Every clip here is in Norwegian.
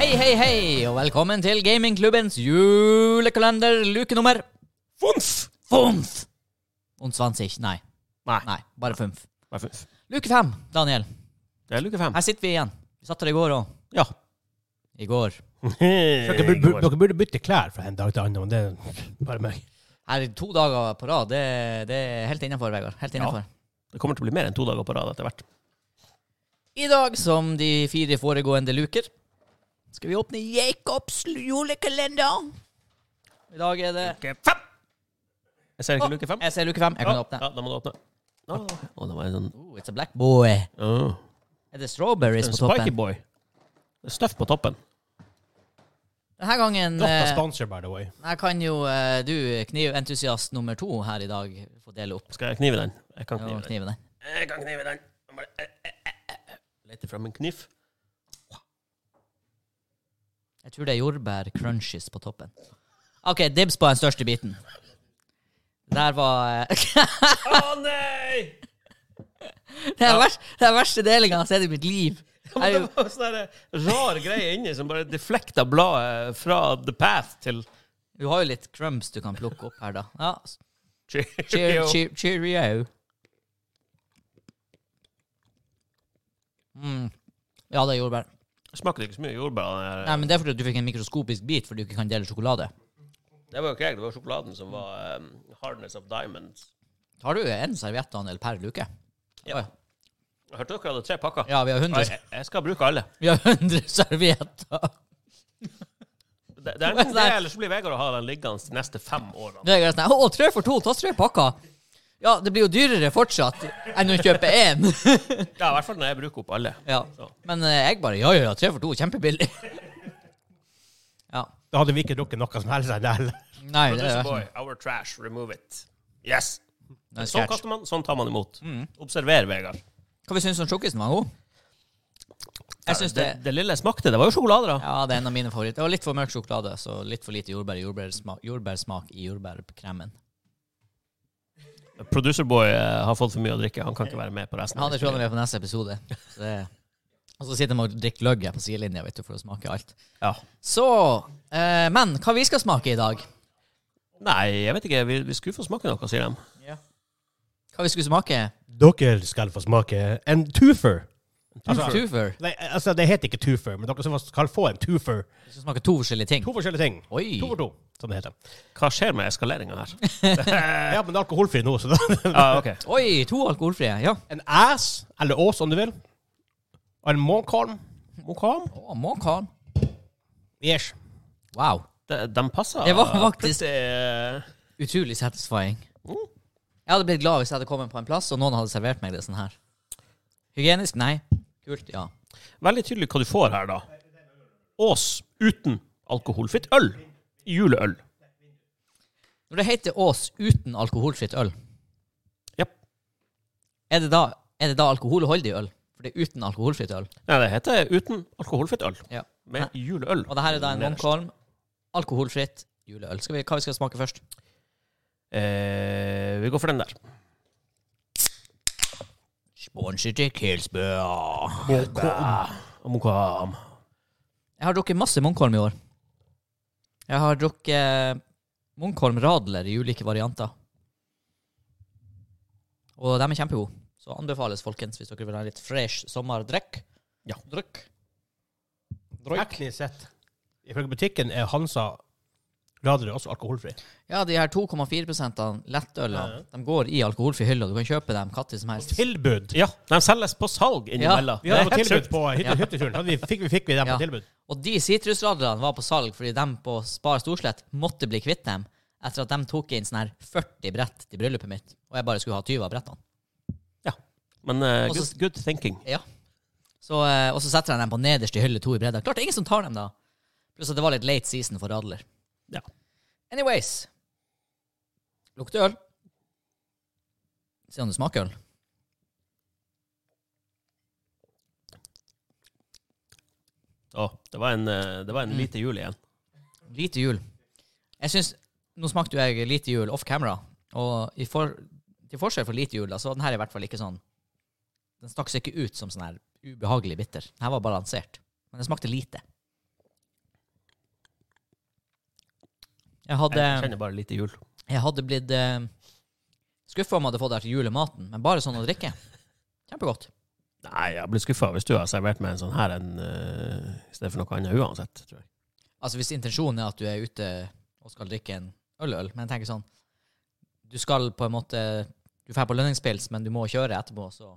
hei, og velkommen til gamingklubbens julekalender lukenummer Fons! FOMF! Ondsvansig. Nei. Nei. Nei, bare FUMF. Nei, fons. Luke fem, Daniel. Det er luke fem. Her sitter vi igjen. Vi satt her i går òg. Ja. I går. Dere burde, bu- dere burde bytte klær fra en dag til annen. og Det er bare meg. Her er to dager på rad. Det, det er helt innafor, Vegard. Helt innenfor. Det kommer til å bli mer enn to dager på rad etter hvert. I dag, som de fire foregående luker, skal vi åpne Jacobs julekalender. I dag er det Luke fem! Jeg ser ikke luke fem. Jeg ser luke fem. Jeg kan åpne. Ja, da må du åpne. Å, å, det var en sånn Oh, it's a black boy. Åh. Er det strawberries En på Spiky toppen? boy. Det er Støff på toppen. Denne gangen Godt av eh, sponsor, by the way. Her kan jo eh, du, kniventusiast nummer to her i dag, få dele opp Skal jeg knive den? Jeg kan ja, knive den. knivene. Jeg kan knive den. Jeg bare, eh, eh, eh, eh. Leter frem en kniv. Jeg tror det er jordbær crunchies på toppen. OK, dibs på den største biten. Der var eh, Å nei! Den verste, den verste delinga jeg har sett i mitt liv. Ja, Er men jo, det var sånn der rar greie inni som bare deflekta bladet eh, fra The Path til du har jo litt crumbs du kan plukke opp her, da. Ja. Cheerio. Cheer, cheer, cheerio. Mm. Ja, det er jordbær. Smaker ikke så mye jordbær. av den her. Nei, men Det er fordi at du fikk en mikroskopisk bit fordi du ikke kan dele sjokolade. Det var jo ikke jeg, det var sjokoladen som var um, Hardness of Diamonds. Har du en serviett Daniel, per luke? Ja. Oi. Jeg hørte dere hadde tre pakker. Ja, vi har Nei, 100, jeg, jeg skal bruke alle. vi har 100 servietter. Det, det er enten det, eller så blir Vegard å ha den liggende de neste fem årene. Det er greit. Nei, Å, tre for to! Ta tre pakker! Ja, det blir jo dyrere fortsatt enn å kjøpe én. Ja, I hvert fall når jeg bruker opp alle. Ja. Men eh, jeg bare ja, ja, ja, tre for to. Kjempebillig. Ja. Da hadde vi ikke drukket noe som helst. der heller. Nei, det Producer er boy, our trash, remove it. Yes! det er Sånn sketsj. kaster man, sånn tar man imot. Mm. Observer, Vegard. Hva vi syns om sjokkisen? Var god? Jeg syns det det, det lille smakte, det var jo sjokolade, da. Ja, det er en av mine favoritter. Det var litt for mørk sjokolade, så litt for lite jordbær i jordbærsmak, jordbærsmak i jordbærkremen. Producerboy eh, har fått for mye å drikke, han kan ikke være med på resten. Han er sjående med på neste episode. Så det... Og så sitter man og drikker løgg her på sidelinja vet du, for å smake alt. Ja. Så eh, Men hva vi skal smake i dag? Nei, jeg vet ikke, vi, vi skulle få smake noe, sier de. Hva vi skulle smake? Dere skal få smake en twofer. Altså- Tufer. Nei, altså, det heter ikke twofer, men dere skal- skal få en twofer. Vi skal smake to forskjellige ting. To forskjellige ting. Oi! To for to, som det heter. Hva skjer med eskaleringa her? Ja, men det er alkoholfri nå, så da ah, ok. Oi, to alkoholfrie. Ja. En ass, eller ås om du vil. Og en månkalm. Månkalm? Å, Måkan. Yes. Wow. De, de passer eh, Det var faktisk- pretty- Utrolig satisfying. Mm. Jeg hadde blitt glad hvis jeg hadde kommet på en plass, og noen hadde servert meg det sånn her. Hygienisk? Nei. Kult? Ja. Veldig tydelig hva du får her, da. Ås uten alkoholfritt øl. Juleøl. Når det heter Ås uten alkoholfritt øl, Japp. er det da, er det da alkoholholdig øl? For det er uten alkoholfritt øl. Nei, det heter uten alkoholfritt øl. Ja. Med juleøl. Og det her er da en Nederst. Munkholm alkoholfritt juleøl. Skal vi, hva vi skal smake først? Eh, vi går for den der. Sponset til Kilsbø. Mokam. Jeg har drukket masse Munkholm i år. Jeg har drukket Munkholm Radler i ulike varianter. Og de er kjempegode. Så anbefales, folkens, hvis dere vil ha litt fresh sommerdrekk. Ja. Drykk. Teknisk sett. Ifølge butikken er Hansa Radler også alkoholfri. Ja, de her 2,4 lettølene, de går i alkoholfri hylle, og du kan kjøpe dem hva til som helst. Tilbud. Ja, de selges på salg innimellom. Vi hadde Det er på helt tilbud sjukt. på hytte- hytteturen. Hadde Vi fikk, vi fikk vi dem Ja. på tilbud. Og de sitrusradlene var på salg fordi de på Spar Storslett måtte bli kvitt dem etter at de tok inn sånn her 40 brett til bryllupet mitt, og jeg bare skulle ha 20 av brettene. Ja. Men eh, Også- good, good thinking. Ja. Så, eh, og så setter jeg dem på nederst i hylle to i bredda. Klart det er ingen som tar dem, da. Pluss at det var litt late season for radler. Ja. Anyways. Lukter øl. Se om det smaker øl. Å, det var en, eh, det var en lite jul igjen. Lite jul. Jeg synes, Nå smakte jo jeg lite jul off camera, og i for, til forskjell fra lite jul, da, så var den her i hvert fall ikke sånn Den stakk seg ikke ut som sånn her ubehagelig bitter. Den her var balansert. Men den smakte lite. Jeg hadde, Jeg kjenner bare litt i jul. jeg hadde blitt eh, skuffa om jeg hadde fått det her til julematen, men bare sånn å drikke. Kjempegodt. Nei, jeg blir skuffa hvis du har servert meg en sånn her enn eh, i stedet for noe annet uansett, tror jeg. Altså Hvis intensjonen er at du er ute og skal drikke en øl-øl, men jeg tenker sånn Du skal på en måte Du drar på lønningspils, men du må kjøre etterpå, så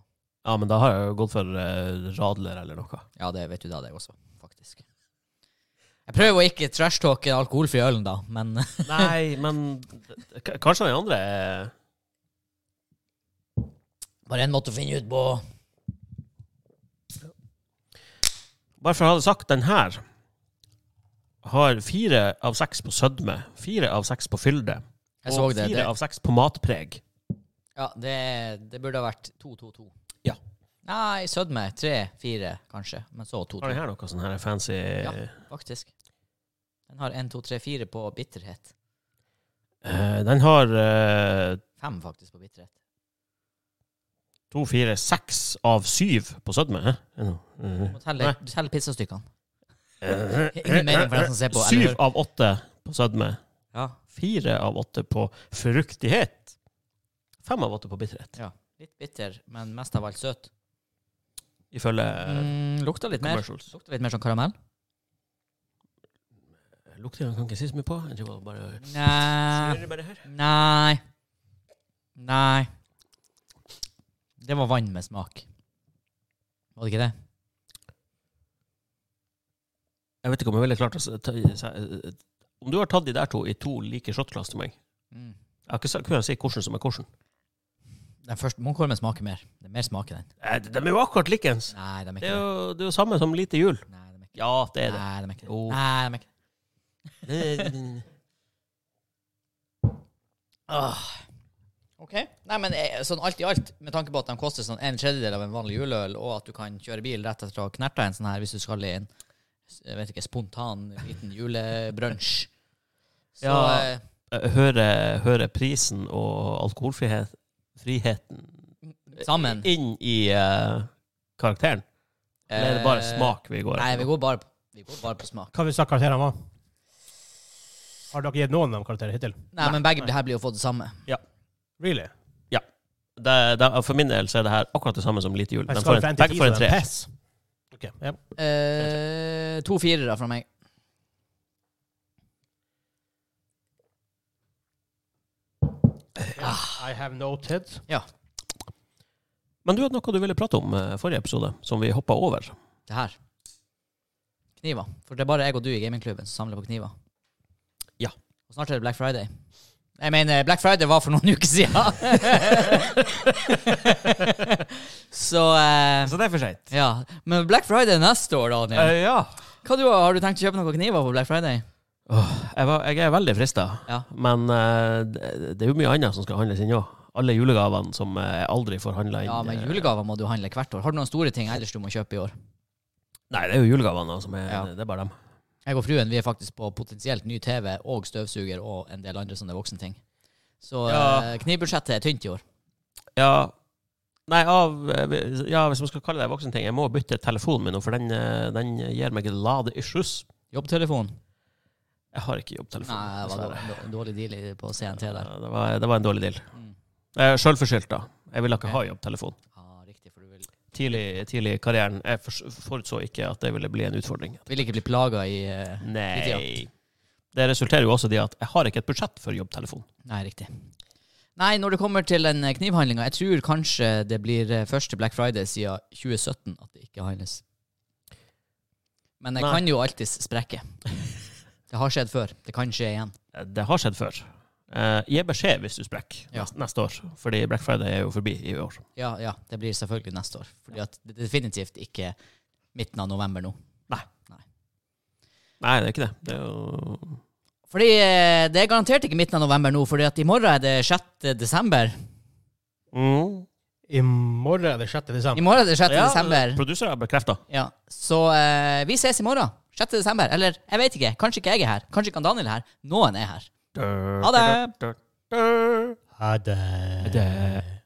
Ja, men da har jeg jo gått for eh, radler eller noe. Ja, det vet du da, det også, faktisk. Jeg prøver å ikke trashtalke den alkoholfrie ølen, da, men Nei, men k- kanskje den andre er bare en måte å finne ut på Bare for å ha sagt, den her har fire av seks på sødme, fire av seks på fylde, Jeg så og det. fire det av seks på matpreg. ja, det, det burde ha vært 2-2-2. Ja. Nei, sødme. Tre-fire, kanskje. Men så Har 2-2, den her noe sånn her fancy Ja. faktisk. Den har 1-2-3-4 på bitterhet. Eh, Den har eh, Fem, faktisk, på bitterhet. to, fire, seks av syv på sødme. Eh, hæ? Er det noe? Du må telle, du teller pizzastykkene. Eh, Ingen mening for den som ser på. eller Syv hører. av åtte på sødme. Ja, Fire av åtte på fruktighet. Fem av åtte på bitterhet. Litt bitter, men mest av alt søt. Ifølge eh, Mm, lukta litt mer commercials. Lukta litt mer som karamell. Lukter den kan ikke si så mye på. Jeg driver bare Nei. Svirrer bare her. Nei. Nei. Det var vann med smak. Var det ikke det? Jeg vet ikke om jeg ville klart å s- ta, sa- eh, Om du har tatt de der to i to like shotglass til meg Mm. Jeg har ikke sa- kunnet si hvordan som er hvordan. Den første Munkholmen smaker mer. Det er mer smak i den. Eh, De de er jo akkurat likens. Nei, de er Det ikke er det. jo det er jo samme som lite jul. Nei, de er ikke det. Ja, det Oh. er det. Nei, de er ikke det. Jo. Nei, de er ikke det. Det- Ah. Ok. Nei, men eh, sånn alt i alt, med tanke på at de koster sånn en tredjedel av en vanlig juleøl, og at du kan kjøre bil rett etter å ha knerta en sånn her hvis du skal i en jeg vet ikke, spontan liten julebrunsj. Så Ja. eh, Eh, Hører, hører prisen og alkoholfriheten friheten sammen inn i eh, karakteren? Eller er det bare eh, smak vi går Nei, vi etter? går bare, på- vi går bare på smak. Hva vi sa karakterene var? Har dere gitt noen av dem karakterer hittil? Nei, men begge her blir jo fått det samme. Really? Det, det, for min del så er det her akkurat det samme som lite jul. Jeg De skal får fra en, en begge til får ti, en så tre. det er Pass. Ok, ja. Eh, to firere fra meg. I have noted. Men du hadde noe du ville prate om eh, forrige episode, som vi hoppa over. Det her. Kniver. For det er bare jeg og du i gamingklubben som samler på kniver. Ja. Og snart er det Black Friday. Jeg mener, Black Friday var for noen uker siden. Så eh, Så det er for seint. Ja. Men Black Friday neste år, Daniel. ja. Hva du, har du tenkt å kjøpe noen kniver på Black Friday? Jeg, var, jeg er veldig frista, Ja. men eh, det, det er jo mye annet som skal handles inn òg. Alle julegavene som eh, jeg aldri får handla inn. Ja, men eh, julegaver må du handle hvert år. Har du noen store ting ellers du må kjøpe i år? Nei, det er jo julegavene da, som er Ja. Det er bare dem. Jeg og fruen vi er faktisk på potensielt ny TV og støvsuger og en del andre sånne voksenting. Så Ja. eh, knivbudsjettet er tynt i år. Ja. Nei, av eh, vi- Ja, hvis man skal kalle det voksenting, jeg må bytte telefonen min nå, for den, eh, den gir meg lade issues. Jobbtelefon. Jeg har Nei, ikke jobbtelefon. det var dessverre. dårlig, dårlig deal i- på CNT der. Ja, det, var, det var en dårlig deal. Mm. Eh, Sjølforskyldt, da. Jeg ville ikke Ok. ha jobbtelefon. Ja, riktig, for du vil, Tidlig, tidlig i karrieren. Jeg fors- forutså ikke at det ville bli en utfordring. vil ikke bli plaga i eh, Nei. Det resulterer jo også i at jeg har ikke et budsjett for jobbtelefon. Nei, riktig. Nei, når det kommer til den knivhandlinga, jeg tror kanskje det blir eh, første Black Friday siden 2017 at det ikke handles. Men jeg Nei. kan jo alltids sprekke. Det har skjedd før. Det kan skje igjen. Eh, Det har skjedd før. Eh, gi beskjed hvis du sprekker Ja. nes- neste år, fordi Black Friday er jo forbi i år. Ja, ja, det blir selvfølgelig neste år. Fordi at det er definitivt ikke midten av november nå. Nei, det er ikke det. Det er jo Fordi eh, det er garantert ikke midten av november nå, fordi at i morgen er det 6. desember. mm. I morgen er det 6. I desember. morgen er det 6. Ja, desember. Produsere har bekrefta. Ja. Så eh, vi ses i morgen. 6. desember. Eller jeg vet ikke. Kanskje ikke jeg er her. Kanskje ikke han Daniel er her. Noen er her. Ha det! Ha det. det.